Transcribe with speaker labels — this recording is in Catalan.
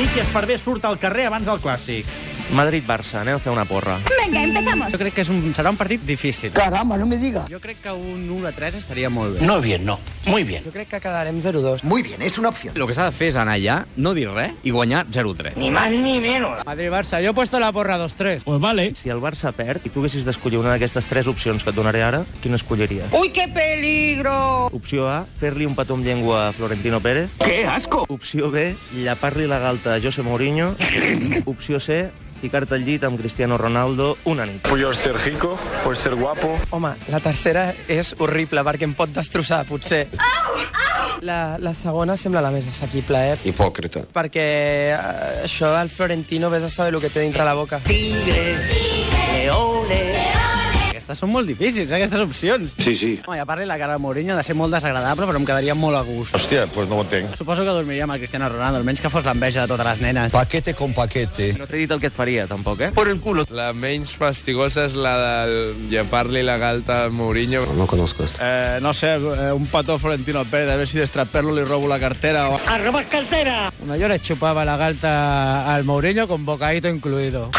Speaker 1: Miqui Esparvé surt al carrer abans del clàssic.
Speaker 2: Madrid-Barça, anem a fer una porra.
Speaker 3: Venga, empezamos.
Speaker 4: Jo crec que és un, serà un partit difícil.
Speaker 5: Caramba, no me diga.
Speaker 4: Jo crec que un 1 a 3 estaria molt bé.
Speaker 6: No bien, no. Muy bien.
Speaker 7: Jo crec que quedarem 0-2.
Speaker 5: Muy bien, es una opción.
Speaker 8: El que s'ha de fer és anar allà, no dir res i guanyar 0-3.
Speaker 6: Ni más ni menos.
Speaker 4: Madrid-Barça, jo he puesto la porra 2-3.
Speaker 1: Pues vale.
Speaker 2: Si el Barça perd i tu haguessis d'escollir una d'aquestes tres opcions que et donaré ara, quina escolliries?
Speaker 3: ¡Uy, qué peligro!
Speaker 2: Opció A, fer-li un petó amb llengua a Florentino Pérez.
Speaker 6: ¡Qué asco!
Speaker 2: Opció B, llapar-li la galta a José Mourinho. Opció C, ficar-te al llit amb Cristiano Ronaldo una nit.
Speaker 9: Puedo ser rico, puedo ser guapo.
Speaker 7: Home, la tercera és horrible, perquè em pot destrossar, potser. La, la segona sembla la més assequible, eh?
Speaker 9: Hipòcrita.
Speaker 7: Perquè eh, això del Florentino vés a saber el que té dintre la boca.
Speaker 4: Aquestes són molt difícils, eh, aquestes opcions.
Speaker 9: Sí, sí.
Speaker 4: Home, ja parli la cara de Mourinho, ha de ser molt desagradable, però em quedaria molt a gust.
Speaker 9: Hòstia, pues no ho entenc.
Speaker 4: Suposo que dormiria amb el Cristiano Ronaldo, almenys que fos l'enveja de totes les nenes.
Speaker 5: Paquete con paquete.
Speaker 2: No t'he dit el que et faria, tampoc, eh?
Speaker 7: Por el culo.
Speaker 10: La menys fastigosa és la del llepar-li la galta a Mourinho.
Speaker 9: No conozco esto.
Speaker 10: Eh, no sé, eh, un pató Florentino Pérez, a ver si destraperlo li robo la cartera. O...
Speaker 4: Bueno, yo le chupaba la galta al Mourinho con bocadito incluido.